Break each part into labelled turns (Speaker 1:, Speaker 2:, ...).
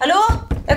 Speaker 1: Hallo? Jeg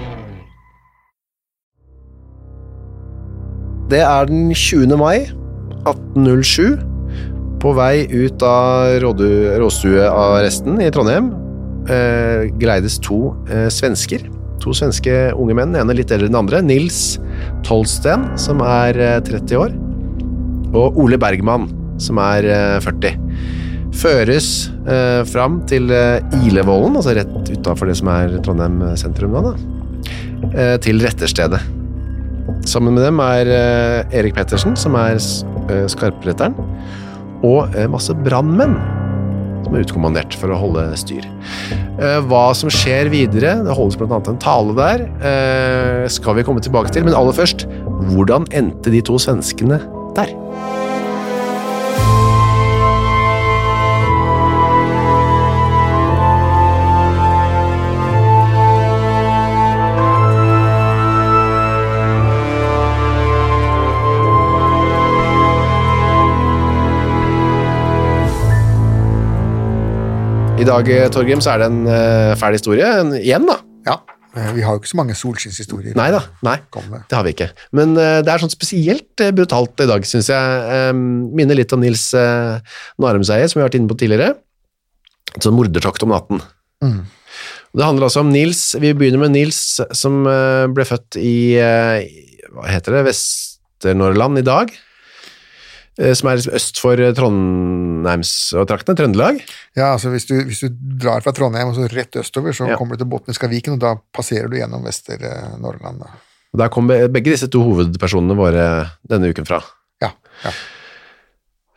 Speaker 2: Det er den 20. mai 1807, på vei ut av rådu- rådstuearresten i Trondheim, eh, gleides to eh, svensker. To svenske unge menn, den ene litt eldre enn den andre. Nils Tolsten, som er eh, 30 år, og Ole Bergman, som er eh, 40. Føres eh, fram til eh, Ilevollen, altså rett utafor det som er Trondheim sentrum, da, da, eh, til retterstedet. Sammen med dem er eh, Erik Pettersen, som er s- eh, skarpretteren, og eh, masse brannmenn som er utkommandert for å holde styr. Eh, Hva som skjer videre, det holdes blant annet en tale der, eh, skal vi komme tilbake til, men aller først, hvordan endte de to svenskene der? I dag, eh, Torgrim, så er det en eh, fæl historie, en, igjen da.
Speaker 3: Ja, eh, vi har jo ikke så mange solskinnshistorier.
Speaker 2: Nei da, nei.
Speaker 3: Kom det.
Speaker 2: Det har vi ikke. Men eh, det er sånn spesielt eh, brutalt i dag, syns jeg. Eh, minner litt om Nils uh, Narumseier, som vi har vært inne på tidligere. Et sånn mordertokt om natten.
Speaker 3: Mm.
Speaker 2: Det handler altså om Nils. Vi begynner med Nils, som eh, ble født i eh, Hva heter det? Vesternordland i dag. Eh, som er liksom øst for eh, Trondheimstraktene, Trøndelag.
Speaker 3: Ja, altså hvis du, hvis du drar fra Trondheim og så rett østover, så
Speaker 2: Ja.
Speaker 3: kommer du til Botniska Viken, og da passerer du gjennom Vester-Norrland. da.
Speaker 2: Og Der kom be- begge disse to hovedpersonene våre denne uken fra.
Speaker 3: Ja, ja.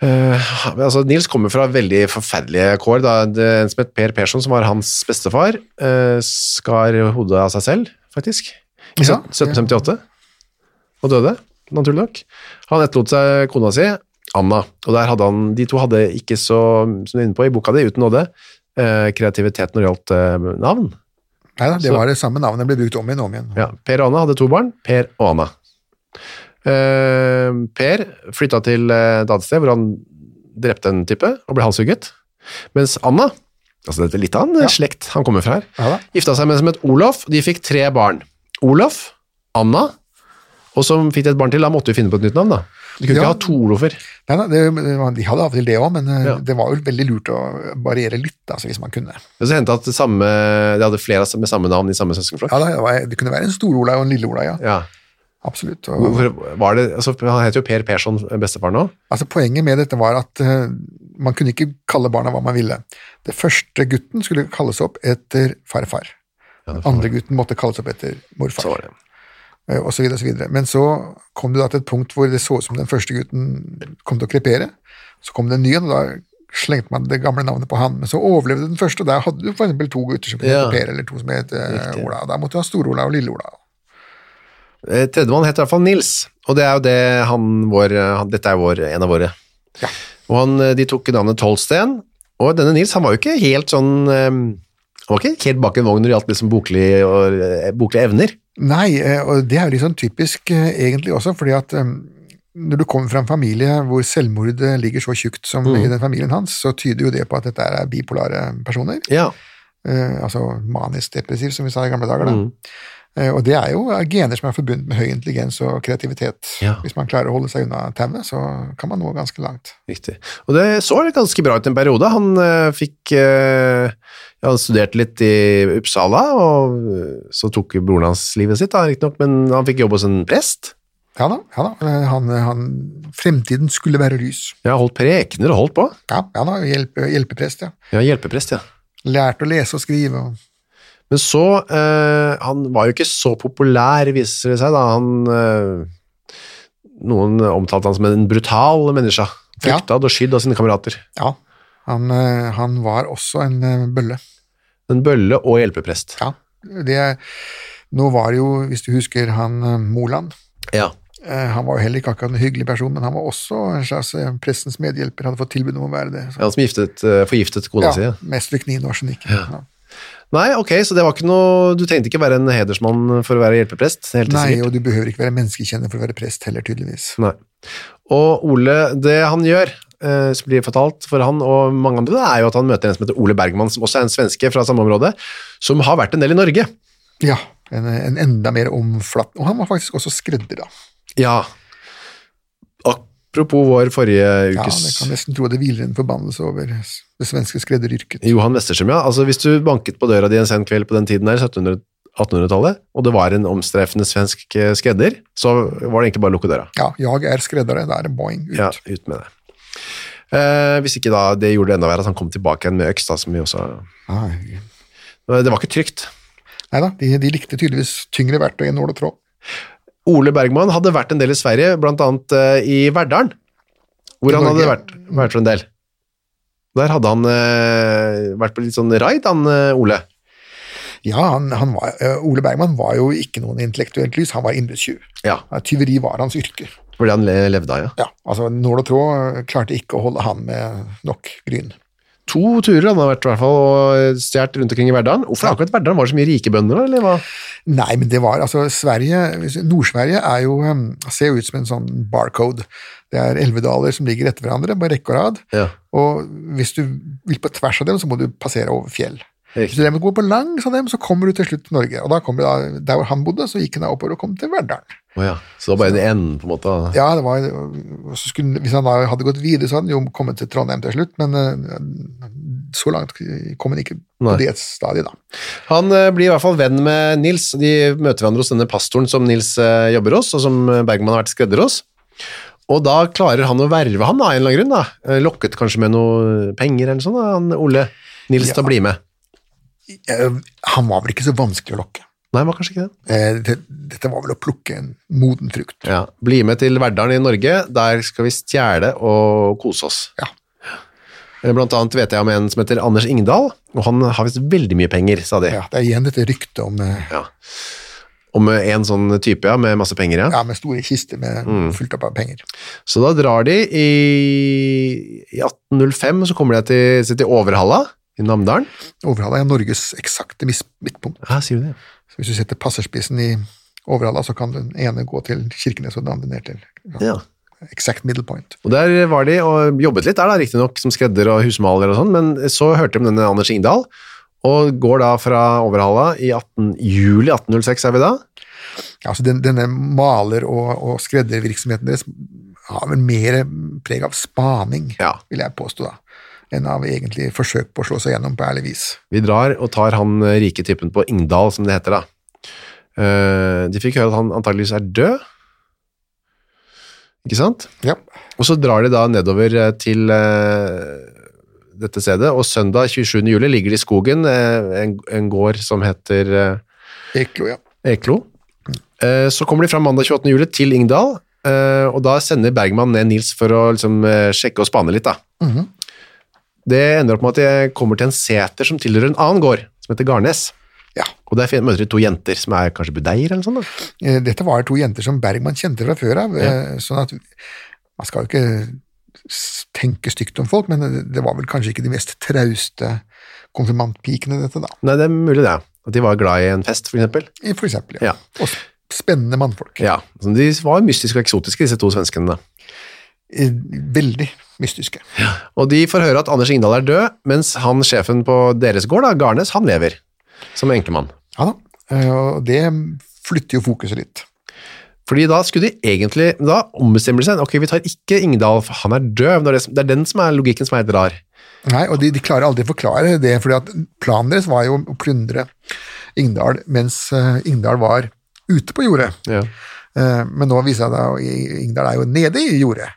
Speaker 2: Eh, men altså, Nils kommer fra veldig forferdelige kår. Da. Det, en som het Per Persson, som var hans bestefar, eh, skar hodet av seg selv, faktisk, i
Speaker 3: Ja,
Speaker 2: søt- 1758, og døde, naturlig nok. Han etterlot seg kona si, Anna, og der hadde han, de to hadde ikke så, som du er inne på i boka di, uten nåde, eh, kreativitet når det gjaldt eh, navn.
Speaker 3: Nei da, det
Speaker 2: Så-
Speaker 3: var det samme navnet ble brukt om igjen og om igjen.
Speaker 2: Ja, Per og Anna hadde to barn, Per og Anna. Eh, per flytta til eh, et annet sted hvor han drepte en type og ble halshugget, mens Anna, altså dette er litt av en eh, slekt han kommer fra her,
Speaker 3: Ja da.
Speaker 2: gifta seg med en som het Olof, de fikk tre barn. Olof, Anna, og som fikk de et barn til, da måtte vi finne på et nytt navn da. Du kunne
Speaker 3: Ja.
Speaker 2: ikke ha to Olofer.
Speaker 3: Nei, nei, det, det var- de hadde av og til det òg, men eh,
Speaker 2: Ja.
Speaker 3: det var jo veldig lurt å variere litt, altså, hvis man kunne.
Speaker 2: Og så hendte det at det samme, de hadde flere av samme- med samme navn i samme søskenflokk.
Speaker 3: Ja, da, det, var, det kunne være en Stor-Ola og en Lille-Ola, ja.
Speaker 2: Ja.
Speaker 3: Absolutt. Og,
Speaker 2: Hvorfor var det, altså, han heter jo Per Persson, eh, bestefar nå.
Speaker 3: Altså Poenget med dette var at eh, man kunne ikke kalle barna hva man ville. Det første gutten skulle kalles opp etter farfar. Den andre gutten måtte kalles opp etter morfar.
Speaker 2: Så var det.
Speaker 3: Eh, Og så videre, og så videre. Men så kom det da til et punkt hvor det så ut som den første gutten kom til å krepere. Så kom det en ny en, og da slengte man det gamle navnet på han. Men så overlevde den første, og der hadde du for eksempel to gutter som kunne
Speaker 2: Ja.
Speaker 3: krepere, eller to som het eh,
Speaker 2: Riktig.
Speaker 3: Ola. Da måtte du ha Stor-Ola og Lille-Ola.
Speaker 2: Eh, Tredjemann heter i hvert fall Nils, og det er jo det han vår, eh, han, dette er vår, en av våre.
Speaker 3: Ja.
Speaker 2: Og han, eh, de tok navnet Tolsten, og denne Nils, han var jo ikke helt sånn, eh, han var ikke helt bak en vogn når det gjaldt liksom boklige, og, eh, boklige evner.
Speaker 3: Nei, eh, og det er jo litt sånn typisk eh, egentlig også, fordi at eh, når du kommer fra en familie hvor selvmordet ligger så tjukt som
Speaker 2: Mm.
Speaker 3: i den familien hans, så tyder jo det på at dette er eh, bipolare personer.
Speaker 2: Ja,
Speaker 3: eh, altså manisk depressiv, som vi sa i gamle dager.
Speaker 2: Mm.
Speaker 3: Da. Eh, og det er jo eh, gener som er forbundet med høy intelligens og kreativitet.
Speaker 2: Ja.
Speaker 3: Hvis man klarer å holde seg unna tauet, så kan man nå ganske langt.
Speaker 2: riktig. Og det så ganske bra ut en periode. Han eh, fikk, eh, Jeg hadde studert litt i Uppsala, og eh, så tok broren hans livet sitt, da, riktignok, men han fikk jobb hos en prest.
Speaker 3: Ja da. ja da. Han, eh, han, fremtiden skulle være lys.
Speaker 2: Jeg har holdt prekener og holdt på.
Speaker 3: Ja, ja da, hjelpe, hjelpeprest, ja.
Speaker 2: Ja, hjelpeprest, ja.
Speaker 3: Lært å lese og skrive. og
Speaker 2: Men så eh, Han var jo ikke så populær, viser det seg, da. Han eh, Noen omtalte han som en brutal menneske.
Speaker 3: Ja.
Speaker 2: Fryktet og skydd av sine kamerater.
Speaker 3: Ja. Han, eh, han var også en eh, bølle.
Speaker 2: En bølle og hjelpeprest.
Speaker 3: Ja. Det, nå var det jo, hvis du husker, han eh, Moland.
Speaker 2: Ja.
Speaker 3: Eh, Han var jo heller ikke akkurat en hyggelig person, men han var også en slags eh, pressens medhjelper. Hadde fått tilbud om å være det. Så.
Speaker 2: Han som giftet, eh, forgiftet kona si. ja.
Speaker 3: mest lyknin og arsenikk. Ja.
Speaker 2: Nei, ok, så det var ikke noe Du trengte ikke være en hedersmann for å være hjelpeprest? Helt
Speaker 3: Nei,
Speaker 2: sikkert.
Speaker 3: og du behøver ikke være menneskekjenner for å være prest heller, tydeligvis.
Speaker 2: Nei. Og Ole, det han gjør, eh, som blir fatalt for han og mange andre, det er jo at han møter en som heter Ole Bergman, som også er en svenske fra samme område, som har vært en del i Norge.
Speaker 3: Ja, en, en enda mer omflatt. Og han var faktisk også skredder, da.
Speaker 2: Ja. Apropos vår forrige
Speaker 3: Ja,
Speaker 2: ukes
Speaker 3: det kan nesten tro det hviler en forbannelse over det svenske skredderyrket.
Speaker 2: Johan Westerstrøm, ja. Altså, hvis du banket på døra di en sen kveld på den tiden her, 1700 1800-tallet, og det var en omstreifende svensk eh, skredder, så var det egentlig bare å lukke døra.
Speaker 3: Ja, jeg er skreddere, da er det boing ut.
Speaker 2: Ja, ut med det. Eh, hvis ikke da det gjorde det enda verre at han kom tilbake igjen med øks, da, som vi også Eh,
Speaker 3: Nei
Speaker 2: Det var ikke trygt.
Speaker 3: da, de, de likte tydeligvis tyngre verktøy enn nål og tråd.
Speaker 2: Ole Bergman hadde vært en del i Sverige, blant annet eh, i Verdalen, hvor
Speaker 3: I
Speaker 2: han hadde
Speaker 3: Norge.
Speaker 2: vært, vært for en del. Der hadde han eh, vært på litt sånn raid, han eh, Ole.
Speaker 3: Ja, han, han var, eh, Ole Bergman var jo ikke noen intellektuelt lys, han var innbruddstyv.
Speaker 2: Ja,
Speaker 3: Eh, Tyveri var hans yrke.
Speaker 2: fordi han le- levde av, ja.
Speaker 3: Ja, altså Nål og tråd eh, klarte ikke å holde han med nok gryn.
Speaker 2: To turer han har vært i hvert fall, og stjert rundt omkring i Verdalen. Hvorfor akkurat Verdalen? Var det så mye rike bønder, da, eller hva?
Speaker 3: Nei, men det var altså Sverige hvis- Nord-Sverige er jo, um, ser jo ut som en sånn barcode. Det er elvedaler som ligger etter hverandre på rekke og rad.
Speaker 2: Ja.
Speaker 3: Og hvis du vil på tvers av dem, så må du passere over fjell.
Speaker 2: Riktig.
Speaker 3: Hvis du derimot går på langs av dem, så kommer du til slutt til Norge. Og da kommer du da, der hvor han bodde, så gikk han da oppover og kom til Verdalen.
Speaker 2: Å ja. Så det var bare en ende, på en måte. da.
Speaker 3: Ja, det var, og så skulle, Hvis han da hadde gått videre, så hadde han jo kommet til Trondheim til slutt, men eh, så langt kom han ikke
Speaker 2: Nei.
Speaker 3: på det stadiet, da.
Speaker 2: Han eh, blir i hvert fall venn med Nils. De møter hverandre hos denne pastoren som Nils eh, jobber hos, og som eh, Bergman har vært skredder hos. Og da klarer han å verve han, da, av en eller annen grunn. da. Eh, Lokket kanskje med noe penger eller noe sånt, da, han Ole Nils til å bli med.
Speaker 3: Eh, Han var vel ikke så vanskelig å lokke.
Speaker 2: Nei, det var kanskje ikke det.
Speaker 3: Eh, det- Dette var vel å plukke en moden frukt.
Speaker 2: Ja, Bli med til Verdalen i Norge. Der skal vi stjele og kose oss.
Speaker 3: Ja.
Speaker 2: Eh, Blant annet vet jeg om en som heter Anders Ingdal, og han har visst veldig mye penger, sa de.
Speaker 3: Ja, det er igjen dette ryktet om eh,
Speaker 2: Ja. Om eh, en sånn type, ja, med masse penger, ja. Mm.
Speaker 3: ja, med store kister med fullt opp av penger.
Speaker 2: Så da drar de i, i 1805, så kommer de til, sitter i Overhalla i Namdalen.
Speaker 3: Overhalla er Norges eksakte mis- midtpunkt.
Speaker 2: Ja, sier du det?
Speaker 3: Så hvis du setter passerspissen i Overhalla, så kan den ene gå til Kirkenes og den andre ned til ja,
Speaker 2: Ja.
Speaker 3: exact middle point.
Speaker 2: Og der var de og jobbet litt der da, riktig nok, som skredder og husmaler og sånn, men så hørte de om denne Anders Ingdal, og går da fra Overhalla i 18, juli 1806, er vi da?
Speaker 3: Ja, altså den, Denne maler- og, og skreddervirksomheten deres har vel mer preg av spaning,
Speaker 2: Ja.
Speaker 3: vil jeg påstå, da, enn av egentlig forsøk på å slå seg gjennom på ærlig vis.
Speaker 2: Vi drar og tar han eh, rike typen på Ingdal, som det heter da. Eh, De fikk høre at han antageligvis er død. Ikke sant?
Speaker 3: Ja,
Speaker 2: Og så drar de da nedover eh, til eh, dette stedet, og søndag 27. juli ligger de i skogen, eh, en, en gård som heter eh,
Speaker 3: Eklo, ja.
Speaker 2: Eklo. Eh, så kommer de fra mandag 28. juli til Ingdal, eh, og da sender Bergman ned Nils for å liksom, eh, sjekke og spane litt. Da. Det ender opp med at de kommer til en seter som tilhører en annen gård, som heter Garnes.
Speaker 3: ja.
Speaker 2: Og der fin- møter de to jenter som er kanskje budeier eller noe sånt. Da.
Speaker 3: Eh, Dette var to jenter som Bergman kjente fra før av, eh, sånn at man skal jo ikke s- tenke stygt om folk, men det var vel kanskje ikke de mest trauste konfirmantpikene, dette, da.
Speaker 2: Nei, det er mulig det. At de var glad i en fest, for eksempel.
Speaker 3: For eksempel.
Speaker 2: Ja.
Speaker 3: Ja. Og s- spennende mannfolk.
Speaker 2: Ja, så de var mystiske og eksotiske, disse to svenskene. Da.
Speaker 3: Eh, Veldig mystiske.
Speaker 2: Og de får høre at Anders Ingdal er død, mens han, sjefen på deres gård, da, Garnes, han lever som enkemann.
Speaker 3: Ja da. Eh, Og det flytter jo fokuset litt.
Speaker 2: Fordi da skulle de egentlig, da ombestemmer de seg, ok, vi tar ikke Ingdal, for han er døv, det er, det, som- det er den som er logikken som er helt rar.
Speaker 3: Nei, og de, de klarer aldri å forklare det, fordi at planen deres var jo å plyndre Ingdal mens eh, Ingdal var ute på jordet.
Speaker 2: Ja.
Speaker 3: Eh, men nå viser det seg at Ingdal er jo nede i jordet.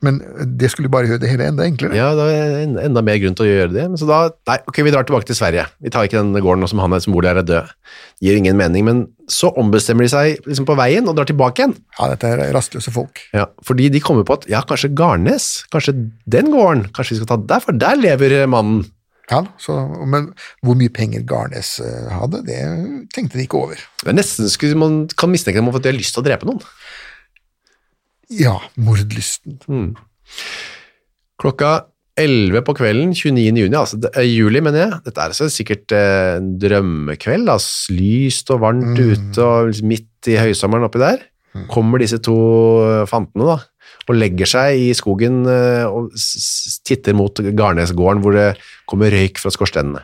Speaker 3: Men det skulle bare gjøre det hele enda enklere.
Speaker 2: Ja, da er det en- enda mer grunn til å gjøre det. Men så da, nei, ok, vi drar tilbake til Sverige. Vi tar ikke den gården nå som han er som bor der er død. Det gir ingen mening, men så ombestemmer de seg liksom på veien og drar tilbake igjen.
Speaker 3: Ja, dette er rastløse folk.
Speaker 2: Ja, fordi de kommer på at, ja, kanskje Garnes, kanskje den gården, kanskje vi skal ta den der, for der lever eh, mannen.
Speaker 3: Ja, så, men hvor mye penger Garnes eh, hadde, det tenkte de ikke over.
Speaker 2: Det er nesten skulle man kan mistenke dem for at de har lyst til å drepe noen.
Speaker 3: Ja, mordlysten.
Speaker 2: Mm. Klokka 11 på kvelden, 29. Juni, altså, det er juli, mener jeg. Dette er altså sikkert eh, en drømmekveld. Da. Lyst og varmt ute, og liksom midt i høysommeren oppi der. Kommer disse to eh, fantene da, og legger seg i skogen eh, og s- s- titter mot Garnesgården, hvor det kommer røyk fra skorstenene.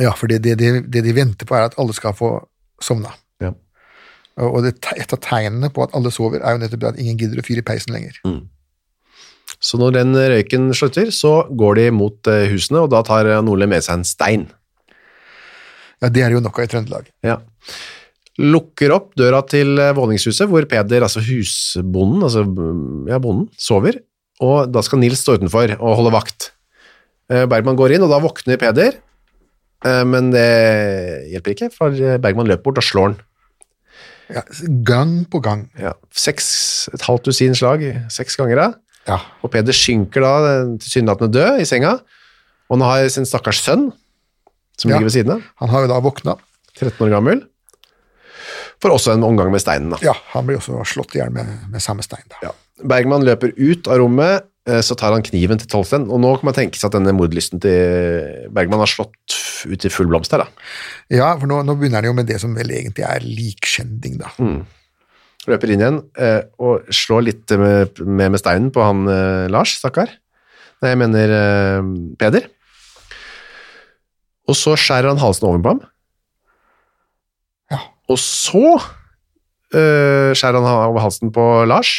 Speaker 3: Ja, for det, det, det, det de venter på, er at alle skal få sovna.
Speaker 2: Ja.
Speaker 3: Og og det, te- et av tegnene på at alle sover, er jo nettopp det at ingen gidder å fyre i peisen lenger.
Speaker 2: Så når den røyken slutter, så går de mot eh, husene, og da tar eh, Nordli med seg en stein.
Speaker 3: Ja, Det er det jo nok av i Trøndelag.
Speaker 2: Ja. Lukker opp døra til eh, våningshuset, hvor Peder, altså husbonden, altså mm, ja, bonden, sover. Og da skal Nils stå utenfor og holde vakt. Eh, Bergman går inn, og da våkner Peder. Eh, Men det hjelper ikke, for eh, Bergman løper bort og slår han.
Speaker 3: Ja, gang på gang.
Speaker 2: Ja. Seks, et halvt dusin slag, seks ganger da.
Speaker 3: Ja.
Speaker 2: Og Peder synker da eh, tilsynelatende død i senga. Og han har sin stakkars sønn, som
Speaker 3: Ja.
Speaker 2: ligger ved siden av,
Speaker 3: Han har jo da våkna.
Speaker 2: 13 år gammel. Får også en omgang med steinen da.
Speaker 3: Ja, han blir også slått i hjel med, med samme stein. da.
Speaker 2: Ja. Bergman løper ut av rommet, eh, så tar han kniven til Tolsten, og nå kan man tenke seg at denne mordlysten til Bergman har slått ut i full blomst her, da.
Speaker 3: Ja, for nå, nå begynner han jo med det som vel egentlig er likskjending, da.
Speaker 2: Mm. Løper inn igjen eh, og slår litt med, med, med steinen på han eh, Lars, stakkar. Nei, jeg mener eh, Peder. Og så skjærer han halsen over på ham.
Speaker 3: Ja.
Speaker 2: Og så eh, skjærer han ha- over halsen på Lars.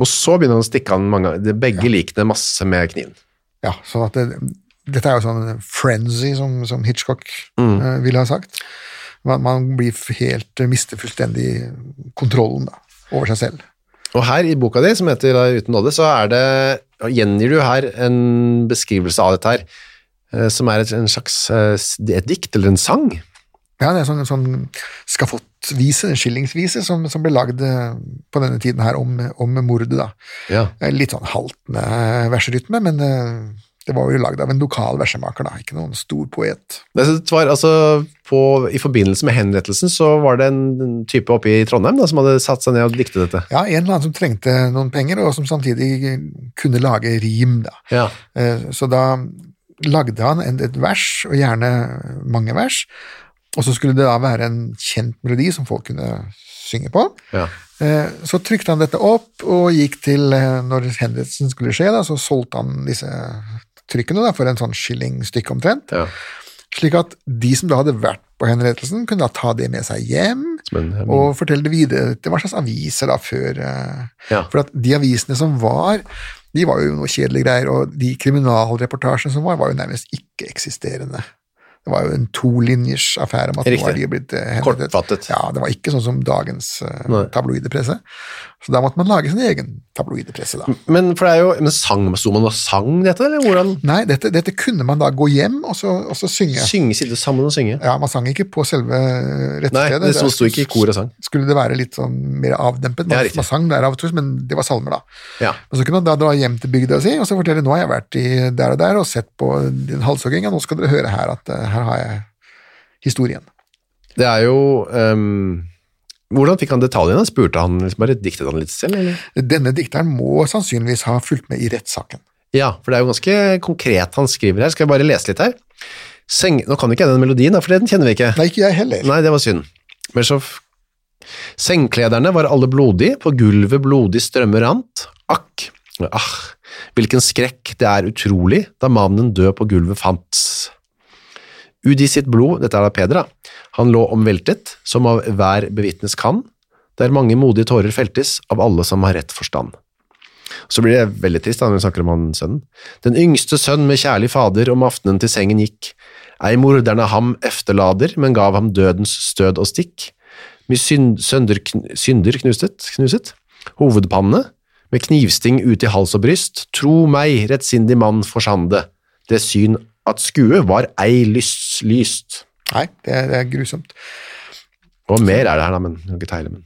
Speaker 2: Og så begynner han å stikke han mange, det- begge likene masse med kniven.
Speaker 3: Ja, sånn at det, Dette er jo sånn frenzy, som, som Hitchcock eh, ville ha sagt. Man, man blir f- helt eh, mister fullstendig kontrollen da, over seg selv.
Speaker 2: Og her i boka di, som heter da Uten nåde, så er det, og gjengir du her en beskrivelse av dette her, eh, som er et, en slags eh, s- et dikt eller en sang.
Speaker 3: Ja, Det er sånn, sånn skafottvise, skillingsvise, som, som ble lagd eh, på denne tiden her om, om mordet. da.
Speaker 2: Ja.
Speaker 3: Eh, Litt sånn haltende verserytme, men eh, det var jo lagd av en lokal versemaker, da, ikke noen stor poet.
Speaker 2: Det var, altså, på, I forbindelse med henrettelsen så var det en en type oppe i Trondheim da, som hadde satt seg ned og diktet dette.
Speaker 3: Ja, En eller annen som trengte noen penger, og som samtidig kunne lage rim. da.
Speaker 2: Ja.
Speaker 3: Eh, Så da lagde han en- et vers, og gjerne mange vers, og så skulle det da være en kjent melodi som folk kunne synge på.
Speaker 2: Ja.
Speaker 3: Eh, Så trykte han dette opp, og gikk til eh, Når henrettelsen skulle skje, da, så solgte han disse trykkene da, for en sånn skilling stykk omtrent.
Speaker 2: Ja.
Speaker 3: Slik at de som da hadde vært på henrettelsen, kunne da ta det med seg hjem
Speaker 2: Som en-
Speaker 3: og fortelle det videre til hva slags aviser da før. eh,
Speaker 2: Ja.
Speaker 3: For at de avisene som var, de var jo noe kjedelige greier, og de kriminalreportasjene som var, var jo nærmest ikke-eksisterende. Det var jo en tolinjers affære om at nå
Speaker 2: Riktig.
Speaker 3: var de blitt eh, henrettet.
Speaker 2: Kortfattet.
Speaker 3: Ja, det var ikke sånn som dagens eh,
Speaker 2: Nei.
Speaker 3: tabloide presse. Så da måtte man lage sin egen tabloide presse, da.
Speaker 2: Men, for det er jo, men sang, sto man og sang dette, eller hvordan?
Speaker 3: Nei, dette, dette kunne man da gå hjem og så, og så synge.
Speaker 2: Synge, sitte sammen og synge.
Speaker 3: Ja, Man sang ikke på selve eh,
Speaker 2: Nei,
Speaker 3: rettestedet.
Speaker 2: det sto ikke i kor og sang.
Speaker 3: Skulle det være litt sånn mer avdempet?
Speaker 2: Ja,
Speaker 3: Man,
Speaker 2: riktig.
Speaker 3: man sang der av og til, men det var salmer, da.
Speaker 2: Ja.
Speaker 3: Og Så kunne han da dra hjem til bygda si og så fortelle nå har jeg vært i der og der og sett på den halshogginga, nå skal dere høre her at eh, her har jeg historien.
Speaker 2: Det er jo... ehm, hvordan fikk han detaljene? Spurte han, liksom bare diktet han litt selv, eller?
Speaker 3: Denne dikteren må sannsynligvis ha fulgt med i rettssaken.
Speaker 2: Ja, for det er jo ganske konkret han skriver her. Skal jeg bare lese litt her? Seng Nå kan ikke jeg den melodien, da, for den kjenner vi ikke.
Speaker 3: Nei, ikke jeg heller.
Speaker 2: Nei, det var synd. Men så f- Sengklederne var alle blodige, på gulvet blodig strømmer rant. Akk, ah, hvilken skrekk, det er utrolig, da mannen død på gulvet fants. Udi sitt blod, dette er da Peder da, han lå omveltet, som av hver bevitnes kan. der mange modige tårer feltes av alle som har rett forstand. Så blir det veldig trist da, når vi snakker om han sønnen. Den yngste sønn med kjærlig fader om aftenen til sengen gikk. Ei morderne ham efterlader, men gav ham dødens stød og stikk. Med synd, sønder, kn- synder knuset, knuset. Hovedpanne, med knivsting ut i hals og bryst. Tro meg, rettsindig mann forsande. Det syn at skue var ei lyst, lyst.
Speaker 3: Nei, det er, det er grusomt.
Speaker 2: Og mer er det her da, men jeg kan ikke teile, men...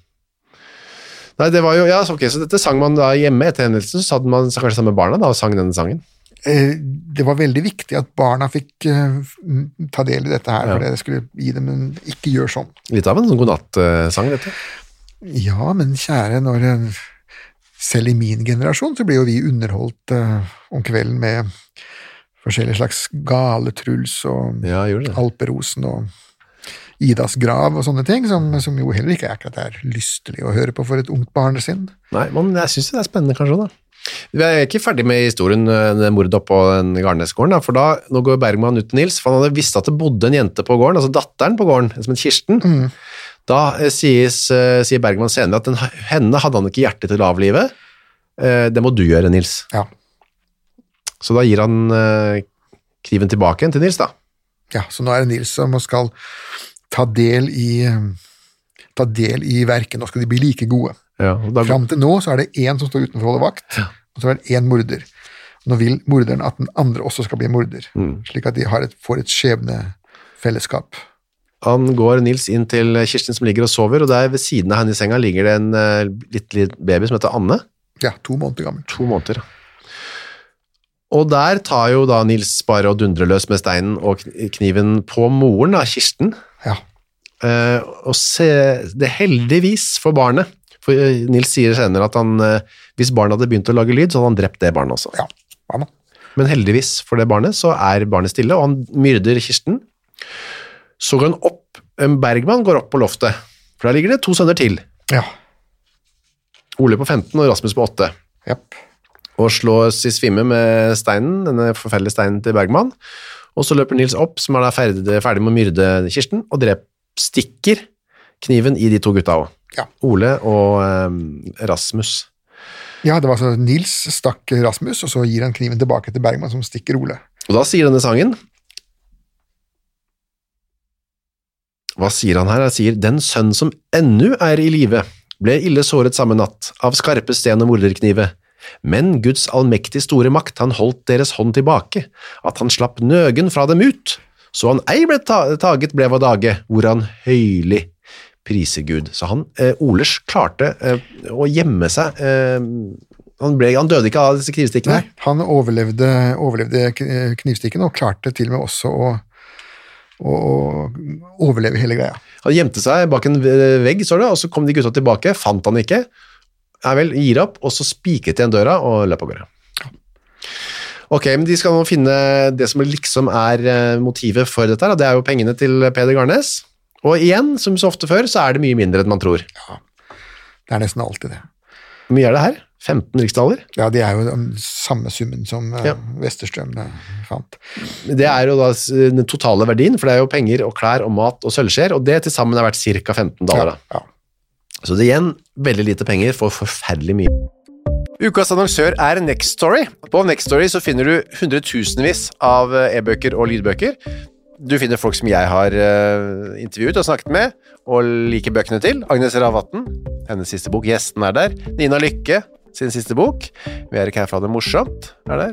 Speaker 2: Nei, det var jo, ja, så- ok, så dette sang man da hjemme etter hendelsen, så hadde man kanskje sammen med barna da, og sang denne sangen.
Speaker 3: Eh, Det var veldig viktig at barna fikk eh, m- ta del i dette her, for det skulle gi dem en ikke gjør sånn.
Speaker 2: Litt av en sånn godnatt-sang, dette.
Speaker 3: Ja, men kjære, når eh, selv i min generasjon så blir jo vi underholdt eh, om kvelden med forskjellige slags gale truls og
Speaker 2: Ja, gjorde det.
Speaker 3: Alperosen og Idas grav og sånne ting, som, som jo heller ikke er akkurat er lystelig å høre på for et ungt barn sin.
Speaker 2: Nei, men jeg synes det er spennende kanskje også, da. Vi er ikke ferdig med historien, eh, det mordet opp på den Garnesgården, da, for da, nå går Bergman ut til Nils, for han hadde visst at det bodde en jente på gården, altså datteren på gården, som het Kirsten. Da eh, sies, eh, sier Bergman senere at den, henne hadde han ikke hjerte til å avlive. Eh, Det må du gjøre, Nils.
Speaker 3: Ja,
Speaker 2: Så da gir han eh, kniven tilbake igjen til Nils, da.
Speaker 3: Ja, så nå er det Nils som skal ta del i eh, ta del i verket. Nå skal de bli like gode.
Speaker 2: og da
Speaker 3: Fram til nå så er det én som står utenfor og holder vakt, og så er det én morder. Nå vil morderen at den andre også skal bli morder, slik at de har et, får et skjebnefellesskap.
Speaker 2: han går Nils inn til Kirsten som ligger og sover, og der ved siden av henne i senga ligger det en eh, liten liten baby som heter Anne.
Speaker 3: Ja, to måneder gammel.
Speaker 2: To måneder. Og der tar jo da Nils bare og dundrer løs med steinen og kn- kniven på moren, da, Kirsten.
Speaker 3: Ja.
Speaker 2: Eh, og se, det heldigvis for barnet, for eh, Nils sier senere at han, eh, hvis barnet hadde begynt å lage lyd, så hadde han drept det barnet også.
Speaker 3: ja. Hva nå?
Speaker 2: Men heldigvis for det barnet, så er barnet stille, og han myrder Kirsten. Så går han opp, en Bergman går opp på loftet, for der ligger det to sønner til.
Speaker 3: Ja.
Speaker 2: Ole på 15 og Rasmus på 8.
Speaker 3: Japp.
Speaker 2: Og slås i svimme med steinen, denne forferdelige steinen til Bergman. Og så løper Nils opp, som er da ferdig, ferdig med å myrde Kirsten, og drep, stikker kniven i de to gutta også.
Speaker 3: Ja.
Speaker 2: Ole og eh, Rasmus.
Speaker 3: ja, det var så Nils stakk Rasmus, og så gir han kniven tilbake til Bergman, som stikker Ole.
Speaker 2: Og da sier denne sangen Hva sier han her? Han sier Den sønn som ennu er i live, ble ille såret samme natt, av skarpe sten og morderknive. Men Guds allmektig store makt, han holdt deres hånd tilbake, at han slapp nøgen fra dem ut. Så han ei ble ta taget blev av dage, hvor han høylig priser Gud. Så han, eh, Olers, klarte eh, å gjemme seg. Eh, han, ble, han døde ikke av disse knivstikkene.
Speaker 3: Nei, han overlevde, overlevde kn- knivstikkene og klarte til og med også å, å, å overleve hele greia.
Speaker 2: Han gjemte seg bak en ve- vegg, står det, og så kom de gutta tilbake, fant han ikke. Nei vel, gir opp, og så spikret de igjen døra og løp av gårde. Ok, men de skal nå finne det som liksom er eh, motivet for dette, her, og det er jo pengene til Peder Garnes. Og igjen, som så ofte før, så er det mye mindre enn man tror.
Speaker 3: Det er nesten alltid det.
Speaker 2: Hvor mye er det her? 15 riksdaler?
Speaker 3: Ja, det er jo den samme summen som eh,
Speaker 2: Ja.
Speaker 3: Westerstrøm eh, fant.
Speaker 2: Det er jo da s- den totale verdien, for det er jo penger og klær og mat og sølvskjer, og det til sammen er verdt ca. 15 dollar. da.
Speaker 3: Ja, ja.
Speaker 2: Så det er igjen, veldig lite penger for forferdelig mye. Ukas annonsør er Next Story. På Next Story så finner du hundretusenvis av eh, e-bøker og lydbøker. Du finner folk som jeg har eh, intervjuet og snakket med, og liker bøkene til. Agnes Ravatn, hennes siste bok. Gjesten er der. Nina Lykke, sin siste bok. Vi er ikke her for å ha det morsomt, er der.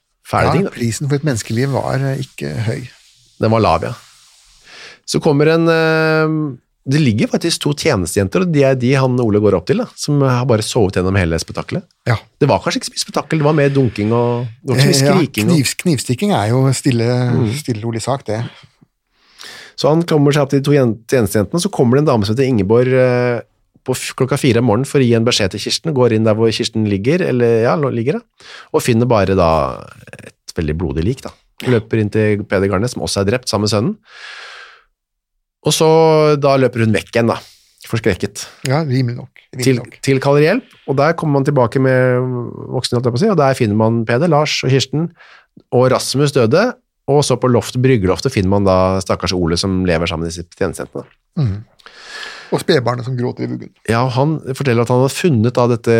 Speaker 2: ting,
Speaker 3: Ja,
Speaker 2: da.
Speaker 3: prisen for et menneskeliv var eh, ikke høy.
Speaker 2: Den var lav, ja. Så kommer en eh, Det ligger faktisk to tjenestejenter, og de er de han Ole går opp til, da, som har bare sovet gjennom hele spetakkelet.
Speaker 3: Ja.
Speaker 2: Det var kanskje ikke så mye spetakkel, det var mer dunking og det var ikke så mye
Speaker 3: Eh, ja,
Speaker 2: skriking. Mm.
Speaker 3: knivs, knivstikking er jo stille, stille rolig sak, det.
Speaker 2: Og, så han kommer seg opp til de to jen- tjenestejentene, og så kommer det en dame som heter Ingeborg eh, på f- klokka fire om morgenen for å gi en beskjed til Kirsten, går inn der hvor Kirsten ligger, eller ja, lå- ligger da, og finner bare da et veldig blodig lik da. Løper inn til Peder Garnes, som også er drept, sammen med sønnen. Og så da løper hun vekk igjen da, forskrekket.
Speaker 3: Ja, rimelig nok. Rimelig
Speaker 2: til,
Speaker 3: nok.
Speaker 2: tilkaller hjelp, og der kommer man tilbake med voksne, holdt jeg på å si, og der finner man Peder, Lars og Kirsten, og Rasmus døde, og så på loft, bryggeloftet finner man da stakkars Ole som lever sammen med disse tjenestejentene.
Speaker 3: Og spedbarnet som gråter i vuggen.
Speaker 2: Ja, og han forteller at han hadde funnet da dette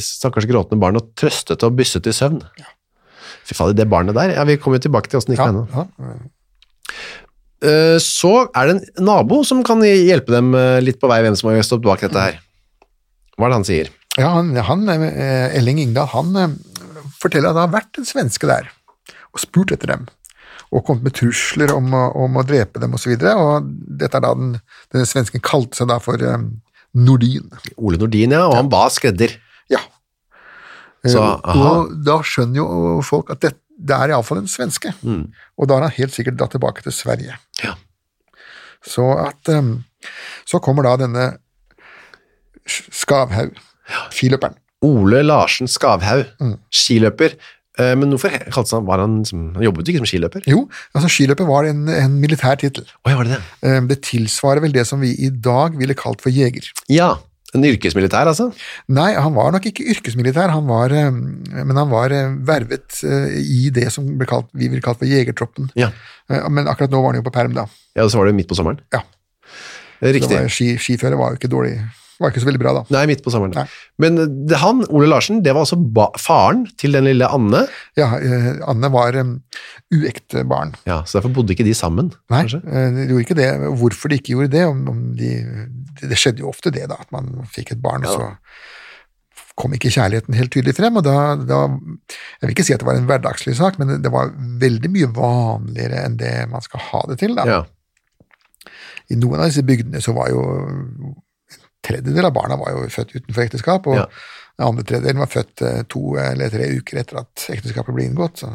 Speaker 2: stakkars gråtende barnet og trøstet og bysset i søvn. Fy faen, det barnet der, ja, vi kommer jo tilbake til hvordan det gikk
Speaker 3: Ja,
Speaker 2: med henne.
Speaker 3: ja.
Speaker 2: Eh, Så er det en nabo som kan hjelpe dem eh, litt på vei hvem som har stått bak dette her. Hva er det han sier?
Speaker 3: ja han, han, eh, Elling Ingdal han eh, forteller at det har vært en svenske der og spurt etter dem. Og kommet med trusler om, å- om å drepe dem osv. Dette er da den, denne svensken kalte seg da for eh, Nordin.
Speaker 2: Ole Nordin, ja, og han var skredder.
Speaker 3: Ja.
Speaker 2: Så,
Speaker 3: Eh,
Speaker 2: aha.
Speaker 3: og da skjønner jo folk at det, det er iallfall en svenske. Og da har han helt sikkert dratt tilbake til Sverige.
Speaker 2: Mm. Ja.
Speaker 3: Så at eh, Så kommer da denne Skavhaug, skiløperen.
Speaker 2: Ole Larsen Skavhaug, skiløper. Eh, Men hvorfor he- kalte han, var han, som, han jobbet jo ikke som skiløper?
Speaker 3: Jo, altså skiløper var en, en militær tittel.
Speaker 2: Åja, var det det?
Speaker 3: Eh, Det tilsvarer vel det som vi i dag ville kalt for jeger.
Speaker 2: Ja, en yrkesmilitær altså.
Speaker 3: Nei, han var nok ikke yrkesmilitær, han var, eh, men han var eh, vervet eh, i det som ble kalt, vi ville kalt for jegertroppen.
Speaker 2: Ja.
Speaker 3: Eh, Men akkurat nå var han jo på perm, da.
Speaker 2: ja, og så var det jo midt på sommeren.
Speaker 3: Ja.
Speaker 2: Eh,
Speaker 3: Det
Speaker 2: Riktig.
Speaker 3: Var, ski, skiføre var jo ikke dårlig, var ikke så veldig bra da.
Speaker 2: Nei, midt på sommeren.
Speaker 3: Nei.
Speaker 2: Men eh, det, han, Ole Larsen, det var altså ba faren til den lille Anne.
Speaker 3: Ja, eh, Anne var eh, uekte barn.
Speaker 2: Ja, så derfor bodde ikke de sammen.
Speaker 3: Nei,
Speaker 2: kanskje?
Speaker 3: eh, de gjorde ikke det. Hvorfor de ikke gjorde det, om, om de, det- det skjedde jo ofte det, da, at man fikk et barn, og så kom ikke kjærligheten helt tydelig frem, og da, da Jeg vil ikke si at det var en hverdagslig sak, men det var veldig mye vanligere enn det man skal ha det til, da.
Speaker 2: Ja.
Speaker 3: I noen av disse bygdene så var jo en tredjedel av barna var jo født utenfor ekteskap, og
Speaker 2: Ja.
Speaker 3: den andre tredjedelen var født eh, to eller tre uker etter at ekteskapet ble inngått. Så.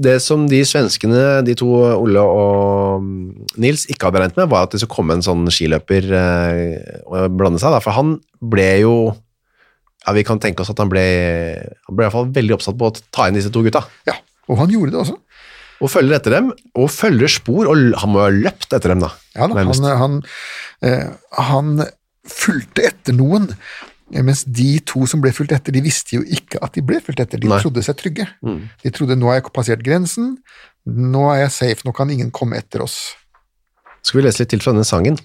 Speaker 2: Det som de svenskene, de to Ole og mm, Nils, ikke hadde regnet med, var at det skulle komme en sånn skiløper eh, og blande seg. Da. For han ble jo ja, Vi kan tenke oss at han ble, han ble i hvert fall veldig oppsatt på å ta inn disse to gutta.
Speaker 3: Ja, og han gjorde det også.
Speaker 2: Og følger etter dem, og følger spor. Og l- han må jo ha løpt etter dem, da.
Speaker 3: Ja, da,
Speaker 2: nærmest.
Speaker 3: han, han, eh, han fulgte etter noen, eh, mens de to som ble fulgt etter, de visste jo ikke at de ble fulgt etter. De
Speaker 2: Nei. Mm.
Speaker 3: trodde seg trygge. De trodde 'nå har jeg passert grensen, nå er jeg safe, nå kan ingen komme etter oss'. eh,
Speaker 2: Skal vi lese litt til fra denne sangen?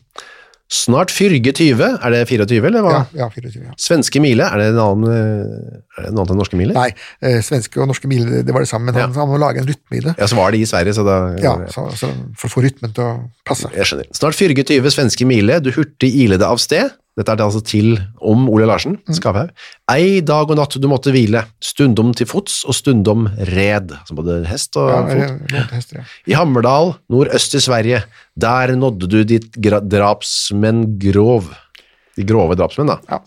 Speaker 2: Snart fyrge 20, er det 24, eller hva?
Speaker 3: Ja, ja 24, ja.
Speaker 2: Svenske mile, er det en annen, eh, er det en annen enn norske mile?
Speaker 3: Nei, eh, svenske og norske miler, det var det samme, men han,
Speaker 2: Ja.
Speaker 3: han må lage en rytme i det.
Speaker 2: Ja, så var det i Sverige, så da
Speaker 3: Ja, så, så for å få rytmen til å passe.
Speaker 2: Jeg skjønner. Snart fyrge 20 svenske mile, du hurtig ilede av sted. Dette er det altså til om Ole Larsen,
Speaker 3: Mm.
Speaker 2: Skavhaug. Ei dag og natt du måtte hvile, stundom til fots og stundom red. Altså både hest og
Speaker 3: Ja,
Speaker 2: fot.
Speaker 3: jeg lånte hester, ja.
Speaker 2: I Hammerdal, nordøst i Sverige, der nådde du ditt gra- drapsmenn grov. De grove drapsmenn, da.
Speaker 3: Ja.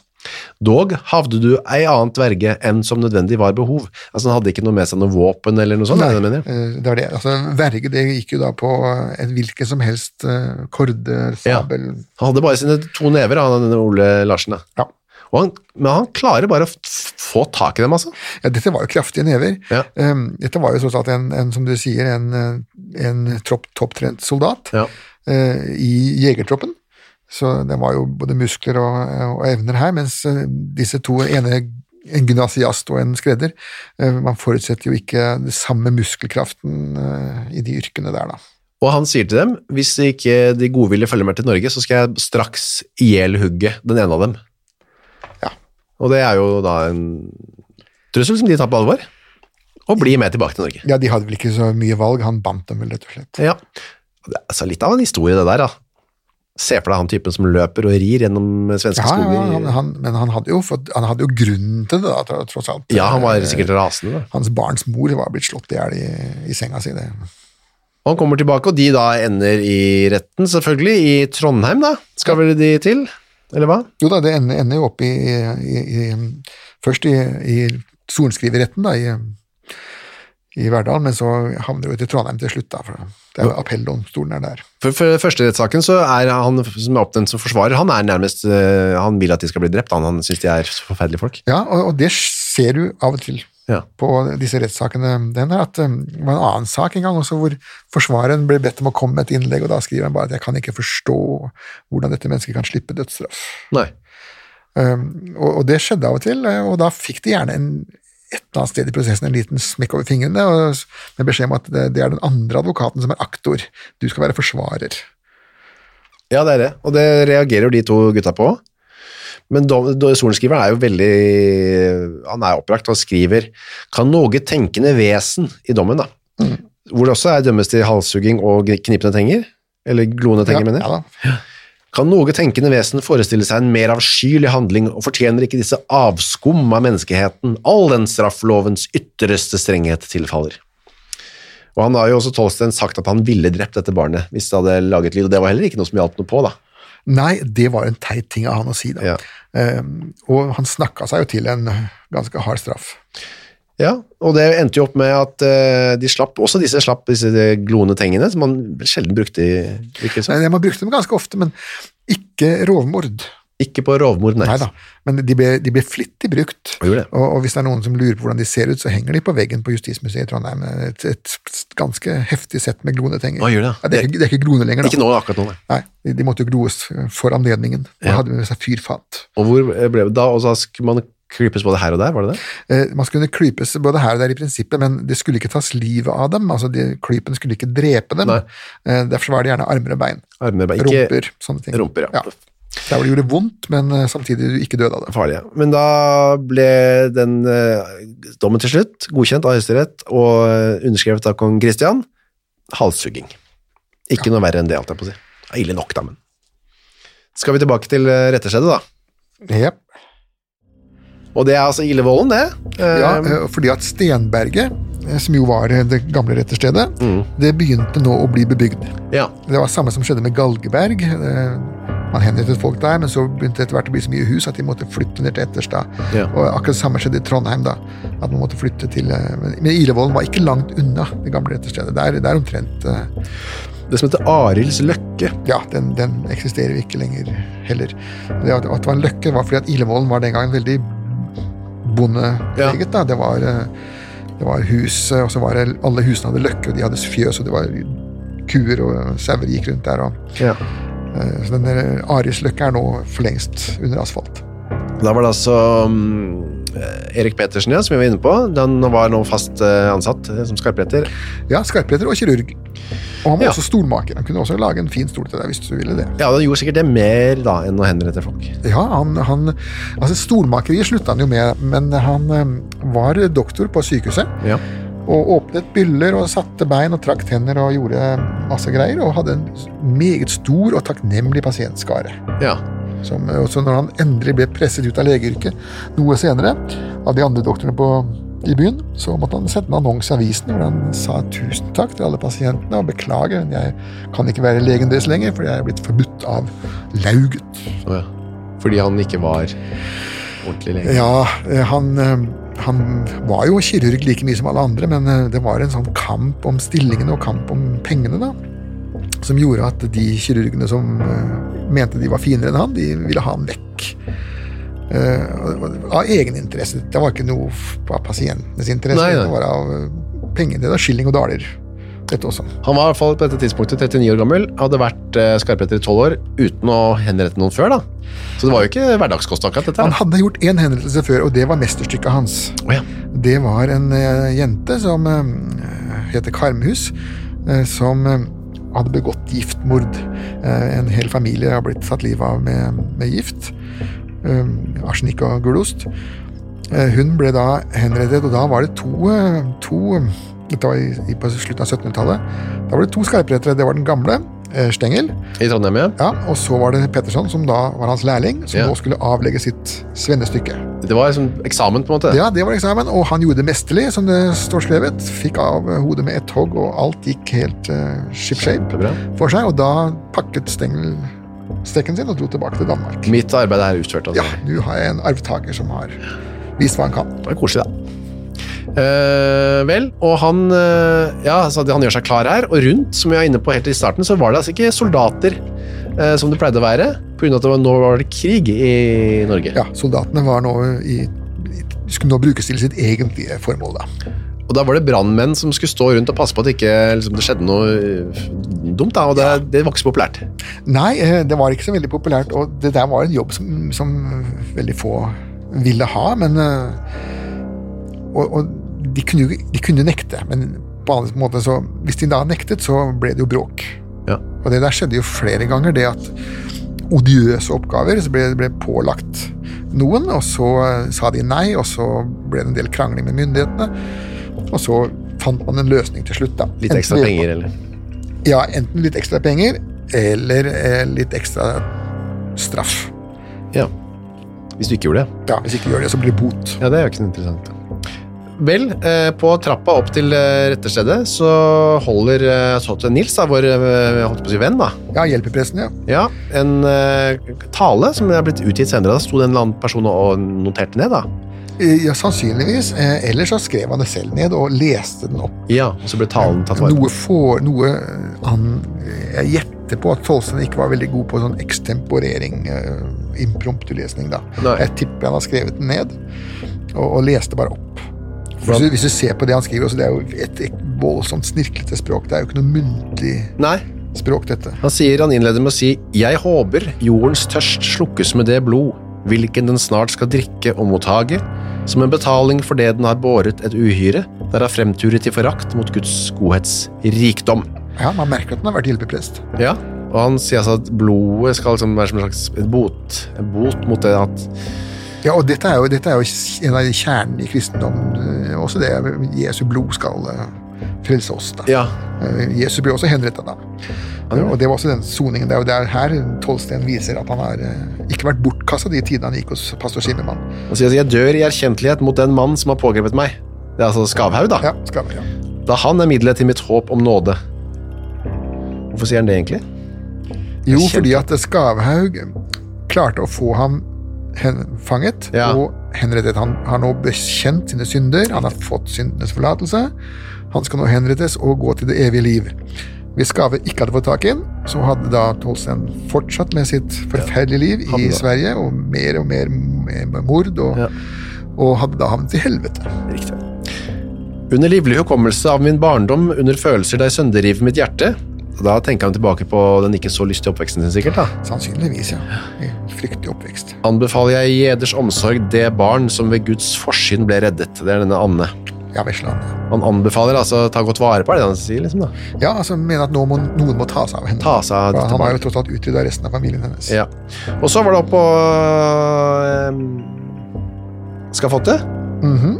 Speaker 2: Dog havde du ei annen verge enn som nødvendig var behov. Altså Han hadde ikke noe med seg noe våpen eller noe sånt? er det det du mener?
Speaker 3: Eh, Det var det. Altså, verge det gikk jo da på eh, en hvilken som helst eh, korde, sabel
Speaker 2: Han hadde bare sine to never, han denne Ole Larsen. da.
Speaker 3: Ja.
Speaker 2: Og han, men han klarer bare å f- få tak i dem, altså.
Speaker 3: Ja, dette var jo kraftige never.
Speaker 2: Ja.
Speaker 3: Eh, Dette var jo tross alt en, en som du sier, en, eh, en tropp, topptrent soldat
Speaker 2: Ja.
Speaker 3: eh, i jegertroppen. Så det var jo både muskler og, og evner her, mens eh, disse to, ene en gymnasiast og en skredder, eh, man forutsetter jo ikke den samme muskelkraften eh, i de yrkene der, da.
Speaker 2: Og han sier til dem hvis ikke de gode ville følge med til Norge, så skal jeg straks ihjelhugge den ene av dem.
Speaker 3: Ja.
Speaker 2: Og det er jo da en trussel som de tar på alvor, og blir med tilbake til Norge.
Speaker 3: Ja, de hadde vel ikke så mye valg, han bandt dem vel, rett og slett.
Speaker 2: Ja. Det er altså litt av en historie, det der. da. Se for deg han typen som løper og rir gjennom svenske
Speaker 3: Ja, ja,
Speaker 2: skoger.
Speaker 3: han, han, men han hadde, jo fått, han hadde jo grunnen til det, da, tro- tross alt.
Speaker 2: Ja, han var
Speaker 3: Eh,
Speaker 2: sikkert rasende. Da.
Speaker 3: Hans barns mor var blitt slått i hjel i, i senga si. Det.
Speaker 2: Og han kommer tilbake, og de da ender i retten, selvfølgelig, i Trondheim, da. Skal vel de til, eller hva?
Speaker 3: Jo da, det ender, ender jo opp i, i, i Først i, i sorenskriverretten, da, i, i Verdal, men så havner det jo til Trondheim til slutt, da. For det er jo appelldomstolen er der.
Speaker 2: For, for første rettssaken så er han som er oppnevnt som forsvarer, han er nærmest eh, Han vil at de skal bli drept, han, han syns de er så forferdelige folk.
Speaker 3: Ja, og, og det ser du av og til
Speaker 2: Ja.
Speaker 3: på disse rettssakene. Den her, at um, Det var en annen sak en gang også, hvor forsvareren ble bedt om å komme med et innlegg, og da skriver han bare at 'jeg kan ikke forstå hvordan dette mennesket kan slippe dødsstraff'.
Speaker 2: Nei.
Speaker 3: Um, og, og det skjedde av og til, eh, og da fikk de gjerne en, et eller annet sted i prosessen en liten smekk over fingrene og, s- med beskjed om at det, det er den andre advokaten som er aktor, du skal være forsvarer.
Speaker 2: Ja, det er det. Og det reagerer jo de to gutta på. Men dom- do- sorenskriveren er jo veldig Han er opprakt og skriver 'kan noe tenkende vesen' i dommen, da. Hvor det også er dømmes til halshugging og gni- knipende tenger. Eller gloende tenger, mener jeg.
Speaker 3: ja, da.
Speaker 2: Kan noe tenkende vesen forestille seg en mer avskyelig handling, og fortjener ikke disse avskum av menneskeheten, all den straffelovens ytterste strenghet tilfaller? Og han har jo også Tolsten sagt at han ville drept dette barnet, hvis det hadde laget lyd, og det var heller ikke noe som hjalp noe på, da.
Speaker 3: Nei, det var en teit ting av han å si, da.
Speaker 2: Ja.
Speaker 3: Um, og han snakka seg jo til en ganske hard straff.
Speaker 2: Ja, og det endte jo opp med at eh, de slapp, også disse slapp disse gloende tingene, som man sjelden brukte i ikke,
Speaker 3: Nei,
Speaker 2: så.
Speaker 3: Man brukte dem ganske ofte, men ikke rovmord.
Speaker 2: ikke på rovmord, nei.
Speaker 3: Nei da, men de ble, de ble flittig brukt.
Speaker 2: De gjorde det.
Speaker 3: Og, og hvis det er noen som lurer på hvordan de ser ut, så henger de på veggen på Justismuseet i Trondheim. Et, et ganske heftig sett med gloende tenger.
Speaker 2: Å, gjør det, ja.
Speaker 3: Ja, det, er, ikke- det er ikke gloende lenger, da.
Speaker 2: Ikke nå, akkurat nå, nei.
Speaker 3: Nei, de, de måtte jo gloes for anledningen. Man
Speaker 2: Ja.
Speaker 3: hadde med seg fyrfat.
Speaker 2: Og hvor eh, ble det da? Og så skulle man krypes både her og der, var det det?
Speaker 3: Eh, man skulle klypes både her og der i prinsippet, men det skulle ikke tas livet av dem. altså de, Klypen skulle ikke drepe dem.
Speaker 2: Nei.
Speaker 3: Eh, derfor var det gjerne armer og bein.
Speaker 2: Armer, bare ikke
Speaker 3: Rumper, sånne ting.
Speaker 2: Rumper, ja.
Speaker 3: Der hvor det gjorde vondt, men eh, samtidig du ikke døde av det.
Speaker 2: farlige. Men da ble den eh, dommen til slutt godkjent av høyesterett og eh, underskrevet av kong Kristian. Halshugging. Ikke noe verre enn det, alt jeg på å si. Det er Ille nok, da, men. Skal vi tilbake til eh, retterstedet, da?
Speaker 3: Jep.
Speaker 2: Og det er altså Illevollen, det. Eh,
Speaker 3: Ja, eh, fordi at Stenberget, eh, som jo var eh, det gamle retterstedet, det begynte nå å bli bebygd.
Speaker 2: ja.
Speaker 3: Det var samme som skjedde med Galgeberg. eh, Man henrettet folk der, men så begynte det etter hvert å bli så mye hus at de måtte flytte ned til Etterstad.
Speaker 2: Ja.
Speaker 3: Og akkurat det samme skjedde i Trondheim, da. At man måtte flytte til eh, Men men Ilevollen var ikke langt unna det gamle retterstedet. Det er, det er omtrent eh,
Speaker 2: Det som heter Arilds løkke.
Speaker 3: Ja, den, den eksisterer jo ikke lenger heller. Det at, at det var en løkke, var fordi at Ilevollen var den gangen veldig bondepreget. da. Det var, eh, det var hus, eh, og så var det alle husene hadde løkke, og de hadde fjøs, og det var kuer og sauer gikk rundt der. og
Speaker 2: Ja.
Speaker 3: eh, Så den der Arisløkka er nå for lengst under asfalt.
Speaker 2: Da var det altså mm, eh, Erik Petersen, ja, som vi var inne på. Den var nå fast eh, ansatt eh, som skarpretter.
Speaker 3: Ja, skarpretter og kirurg. Og han var
Speaker 2: Ja.
Speaker 3: også stormaker. Han kunne også lage en fin stol til deg hvis du ville det.
Speaker 2: Ja, den gjorde sikkert det mer da enn å henrette folk.
Speaker 3: Ja, han, han Altså, stormakeriet slutta han jo med, men han eh, var doktor på sykehuset.
Speaker 2: Ja.
Speaker 3: og åpnet byller og satte bein og trakk tenner og gjorde masse greier, og hadde en meget stor og takknemlig pasientskare.
Speaker 2: ja.
Speaker 3: Som eh, også når han endelig ble presset ut av legeyrket noe senere, av de andre doktorene på, i byen, så måtte han sette en annonse i avisen hvor han sa tusen takk til alle pasientene og beklager, men jeg kan ikke være legen deres lenger, for jeg er blitt forbudt av lauget.
Speaker 2: Å ja. Fordi han ikke var ordentlig lege.
Speaker 3: Ja, eh, han, eh, han var jo kirurg like mye som alle andre, men eh, det var en sånn kamp om stillingene og kamp om pengene, da. Som gjorde at de kirurgene som eh, mente de var finere enn han, de ville ha han vekk. Eh, og- og- Av egeninteresse. Det var ikke noe f- av pasientenes interesse,
Speaker 2: Nei, nei.
Speaker 3: det var av eh, pengene. Det var skilling og daler, dette også.
Speaker 2: Han var i hvert fall på dette tidspunktet 39 år gammel, hadde vært eh, skarpretter i 12 år uten å henrette noen før, da. Så det var jo ikke hverdagskost akkurat dette.
Speaker 3: Han
Speaker 2: her.
Speaker 3: hadde gjort én henrettelse før, og det var mesterstykket hans.
Speaker 2: Å ja.
Speaker 3: Det var en eh, jente som eh, heter Karmhus, eh, som eh, hadde begått giftmord. Eh, en hel familie har blitt satt livet av med, med gift. Eh, arsenikk og gulost. Eh, hun ble da henrettet, og da var det to, eh, to Dette var i, i, på slutten av 1700-tallet. Da var det to skarprettere. Det var den gamle, eh, Stengel.
Speaker 2: I Trondheim, ja.
Speaker 3: Ja, og så var det Petterson, som da var hans lærling, som
Speaker 2: Ja.
Speaker 3: nå skulle avlegge sitt svennestykke.
Speaker 2: Det var liksom eksamen, på en måte.
Speaker 3: Ja, det var eksamen, og han gjorde det mesterlig, som det står skrevet. Fikk av hodet med ett hogg, og alt gikk helt uh, shipshape
Speaker 2: Kjempebra.
Speaker 3: for seg, og da pakket Stengel stekken sin og dro tilbake til Danmark.
Speaker 2: Mitt arbeid er utført, altså.
Speaker 3: Ja, nå har jeg en arvtaker som har vist hva han kan.
Speaker 2: Det var koselig, da. Eh, vel, og han eh, Ja, så han gjør seg klar her, og rundt, som vi var inne på helt i starten, så var det altså ikke soldater eh, som det pleide å være, pga. at det var, nå var det krig i Norge.
Speaker 3: Ja, soldatene var nå i, i skulle nå brukes til sitt egentlige formål, da.
Speaker 2: Og da var det brannmenn som skulle stå rundt og passe på at ikke, liksom, det skjedde noe eh, dumt, da, og det, det var ikke så populært.
Speaker 3: Nei, eh, det var ikke så veldig populært, og det der var en jobb som, som veldig få ville ha, men eh, Og, og de, kunne, jo- de kunne nekte, men på en annen måte så Hvis de da nektet, så ble det jo bråk.
Speaker 2: Ja.
Speaker 3: Og det der skjedde jo flere ganger, det at odiøse oppgaver så ble, ble pålagt noen, og så eh, sa de nei, og så ble det en del krangling med myndighetene, og så fant man en løsning til slutt, da.
Speaker 2: Litt
Speaker 3: Enten
Speaker 2: ekstra
Speaker 3: ved-
Speaker 2: penger, eller
Speaker 3: ja, enten litt ekstra penger, eller eh, litt ekstra straff.
Speaker 2: Ja. Hvis du ikke gjorde det.
Speaker 3: Ja, Hvis ikke gjør det, så blir det bot.
Speaker 2: Ja, det er jo ikke noe interessant. Vel, eh, på trappa opp til eh, rettestedet så holder eh, så til Nils, da, vår eh, holdt på å si venn, da,
Speaker 3: Ja, hjelpepressen, ja.
Speaker 2: ja, en eh, tale som er blitt utgitt senere. Da sto det en eller annen person og noterte ned, da.
Speaker 3: Eh, Ja, Sannsynligvis. Eh, Ellers så skrev han det selv ned og leste den opp.
Speaker 2: Ja, og så ble talen tatt vare på.
Speaker 3: Noe, for, noe han Jeg gjetter på at Tolsten ikke var veldig god på sånn ekstemporering, eh, impromptu-lesning, da.
Speaker 2: Nei.
Speaker 3: Jeg tipper han har skrevet den ned, og, og leste bare opp. Hvis du,
Speaker 2: Hvordan-
Speaker 3: hvis du ser på det han skriver, også, det er jo et, et voldsomt snirklete språk. Det er jo ikke noe muntlig
Speaker 2: Nei,
Speaker 3: språk, dette.
Speaker 2: han sier han innleder med å si Jeg håper jordens tørst slukkes med det blod, hvilken den snart skal drikke og mottage, som en betaling for det den har båret et uhyre, derav fremturet i forakt mot Guds godhets rikdom.
Speaker 3: Ja, Man merker at han har vært hjelpeprest.
Speaker 2: Ja, og han sier altså at blodet skal liksom være som en slags et bot, en bot mot det at
Speaker 3: Ja, og dette er jo, dette er jo en av kjernen i kristendom. eh, Også det Jesu blod skal eh, frelse oss. da.
Speaker 2: Ja.
Speaker 3: Eh, Jesus ble også henrettet da. Og det var også den soningen. Det er jo der her Tolsten viser at han har eh, ikke vært bortkasta de tidene han gikk hos pastor Zimmermann.
Speaker 2: Han sier at jeg dør i erkjentlighet mot den mann som har pågrepet meg. Det er altså Skavhaug, da.
Speaker 3: Ja, skal vi, ja.
Speaker 2: Da han er middelet til mitt håp om nåde. Hvorfor sier han det, egentlig? Jeg
Speaker 3: Jo,
Speaker 2: kjente-
Speaker 3: fordi at Skavhaug klarte å få ham hen, fanget
Speaker 2: Ja.
Speaker 3: og henrettet. Han har nå bekjent sine synder, han har fått syndenes forlatelse. Han skal nå henrettes og gå til det evige liv. Hvis Skave ikke hadde fått tak i ham, så hadde da Tolsten fortsatt med sitt forferdelige liv
Speaker 2: Hadde
Speaker 3: i
Speaker 2: det.
Speaker 3: Sverige, og mer og mer m- mord, og,
Speaker 2: Ja.
Speaker 3: og hadde da havnet i helvete.
Speaker 2: Riktig. Under livlig hukommelse av min barndom, under følelser der sønderriver mitt hjerte Da tenker han tilbake på den ikke så lystige oppveksten sin, sikkert. da.
Speaker 3: Sannsynligvis, ja. En Fryktelig oppvekst.
Speaker 2: Anbefaler jeg i gjeders omsorg det barn som ved Guds forsyn ble reddet. Det er denne Anne.
Speaker 3: Ja, Veslelandet.
Speaker 2: Han anbefaler altså å ta godt vare på det, er det han sier, liksom da.
Speaker 3: Ja, altså mener at nå må, noen må ta seg av henne.
Speaker 2: Ta seg av
Speaker 3: For
Speaker 2: dette
Speaker 3: Han har
Speaker 2: barnet.
Speaker 3: jo tross alt utrydda resten av familien hennes.
Speaker 2: Ja. Og så var det opp på eh, skafottet,
Speaker 3: Mhm.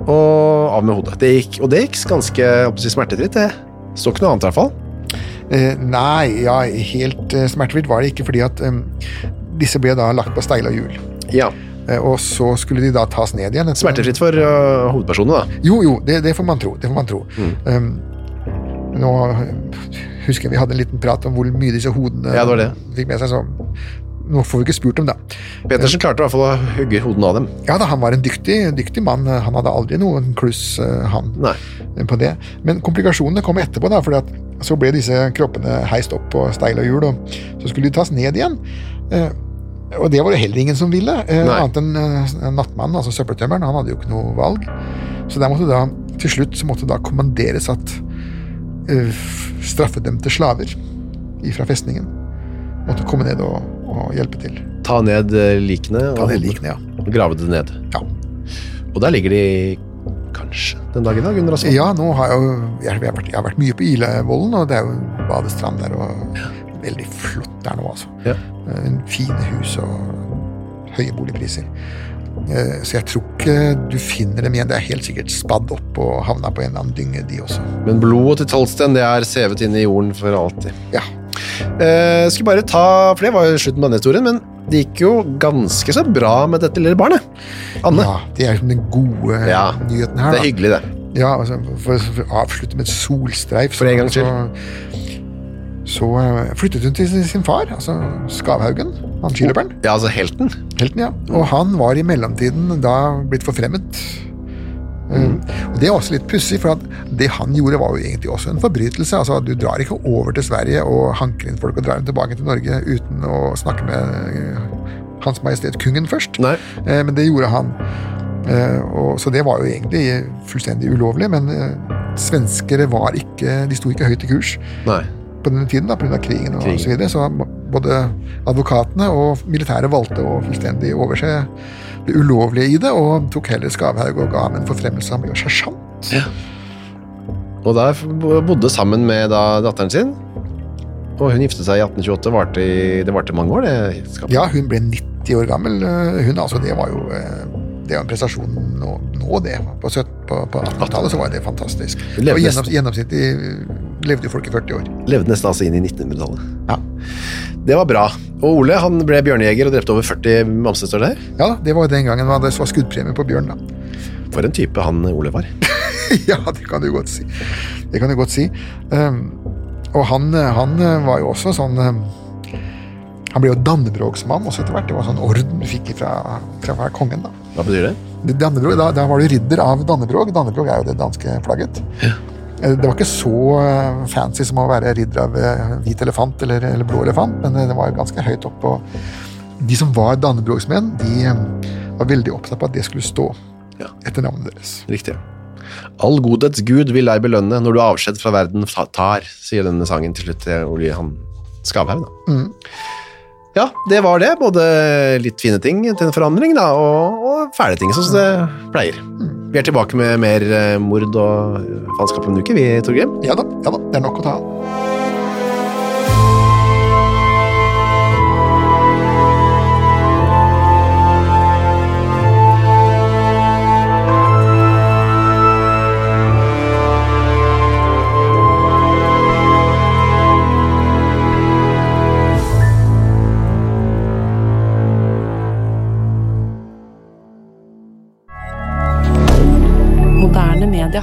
Speaker 2: og av med hodet. Det gikk, og det gikk ganske jeg holdt på å si, smertefritt, det. Står ikke noe annet i hvert fall.
Speaker 3: Eh, nei, ja, helt eh, smertefritt var det ikke, fordi at eh, disse ble da lagt på steile og hjul.
Speaker 2: Ja.
Speaker 3: Eh, og så skulle de da tas ned igjen. etter-
Speaker 2: Smertefritt for eh, hovedpersonene, da.
Speaker 3: Jo, jo, det, det får man tro. Det får man tro.
Speaker 2: Mm.
Speaker 3: Eh, nå eh, husker jeg vi hadde en liten prat om hvor mye disse hodene
Speaker 2: Ja, det var det.
Speaker 3: fikk med seg, så nå får vi ikke spurt om det.
Speaker 2: Petersen klarte i hvert fall å hugge hodene av dem.
Speaker 3: Ja da, han var en dyktig, dyktig mann. Han hadde aldri noen kluss, eh, han.
Speaker 2: Nei.
Speaker 3: eh, på det. Men komplikasjonene kom etterpå, da, fordi at så ble disse kroppene heist opp på steil og hjul, og så skulle de tas ned igjen. Eh, og det var det heller ingen som ville, eh,
Speaker 2: Nei.
Speaker 3: annet enn eh, nattmannen, altså søppeltømmeren. Han hadde jo ikke noe valg. Så der måtte da, til slutt så måtte det da kommanderes at eh, straffedømte slaver fra festningen måtte komme ned og, og hjelpe til.
Speaker 2: Ta ned eh, likene og
Speaker 3: Ta ned
Speaker 2: hodene,
Speaker 3: likene, ja.
Speaker 2: og grave det ned.
Speaker 3: Ja.
Speaker 2: Og der ligger de kanskje den dag i dag under asfalt.
Speaker 3: Ja, nå har jeg jo jeg, har vært, jeg har vært mye på Ilevollen, og det er jo badestrand der, og veldig flott der nå, altså.
Speaker 2: Ja.
Speaker 3: Eh, Fine hus og høye boligpriser. Eh, Så jeg tror ikke du finner dem igjen. Det er helt sikkert spadd opp og havna på en eller annen dynge, de også.
Speaker 2: Men blodet til Tolsten det er sevet inn i jorden for alltid.
Speaker 3: Ja.
Speaker 2: Eh, skal bare ta, for Det var jo slutten på denne historien, men det gikk jo ganske så bra med dette lille barnet. Anne.
Speaker 3: ja det er jo den gode
Speaker 2: Ja,
Speaker 3: nyheten her.
Speaker 2: Det
Speaker 3: da.
Speaker 2: er hyggelig, det.
Speaker 3: Ja, altså, for, for å avslutte med et solstreif
Speaker 2: For en gangs
Speaker 3: så- Så eh, flyttet hun til sin- sin far, altså Skavhaugen, han skiløperen.
Speaker 2: Ja, altså helten.
Speaker 3: Helten, ja. Og han var i mellomtiden da blitt forfremmet. Eh, Og det er også litt pussig, for at det han gjorde, var jo egentlig også en forbrytelse. Altså, Du drar ikke over til Sverige og hanker inn folk og drar dem tilbake til Norge uten å snakke med eh, Hans Majestet Kungen først.
Speaker 2: Nei.
Speaker 3: Eh, Men det gjorde han. Eh, Og, så det var jo egentlig fullstendig ulovlig, men eh, svenskere var ikke, de sto ikke høyt i kurs
Speaker 2: Nei.
Speaker 3: på denne tiden da, pga. krigen og
Speaker 2: Krigen.
Speaker 3: så videre. Så både advokatene og militæret valgte å fullstendig overse det ulovlige i det, og tok heller Skavhaug og ga ham en forfremmelse. Han ble jo sersjant.
Speaker 2: Og der bodde sammen med da, datteren sin. Og hun giftet seg i 1828. Varte i, det varte mange år, det skapet.
Speaker 3: Ja, hun ble 90 år gammel. eh, Hun, altså, det var jo eh, det er jo en prestasjon nå, nå det. På, søt- på, på 1800-tallet så var det fantastisk.
Speaker 2: Hun levde
Speaker 3: Og gjennom,
Speaker 2: nesten-
Speaker 3: gjennomsnittlig eh, levde jo folk i 40 år.
Speaker 2: Levde nesten altså inn i 1900-tallet.
Speaker 3: Ja.
Speaker 2: Det var bra. Og Ole han ble bjørnejeger og drepte over 40 mamser, står det her.
Speaker 3: Ja da, det var jo den gangen man- det var skuddpremie på bjørn, da.
Speaker 2: For en type han Ole var.
Speaker 3: ja, det kan du godt si. Det kan du godt si. Um, og han, eh, han eh, var jo også sånn um, Han ble jo dannebrogsmann også etter hvert. Det var sånn orden du fikk fra, fra, fra kongen. da.
Speaker 2: Hva betyr det?
Speaker 3: Det- Dannebrog, da, da var du ridder av Dannebrog. Dannebrog er jo det danske flagget. Eh, Det var ikke så eh, fancy som å være ridder av eh, hvit elefant eller, eller blå elefant, men eh, det var ganske høyt opp på De som var dannebrogsmenn, de eh, var veldig opptatt på at det skulle stå
Speaker 2: Ja.
Speaker 3: etter navnet deres.
Speaker 2: Riktig. All godhets gud vil deg belønne når du avskjed fra verden ta- tar, sier denne sangen til slutt til Ole Johan Skavhaug, da. Mm. Ja, det var det. Både litt fine ting til en forandring, da, og, og fæle ting, sånn som det pleier. Vi er tilbake med mer eh, mord og eh, faenskap om en uke, vi, Torgrim.
Speaker 3: Ja da, ja da, det er nok å ta av.
Speaker 4: Moderne media.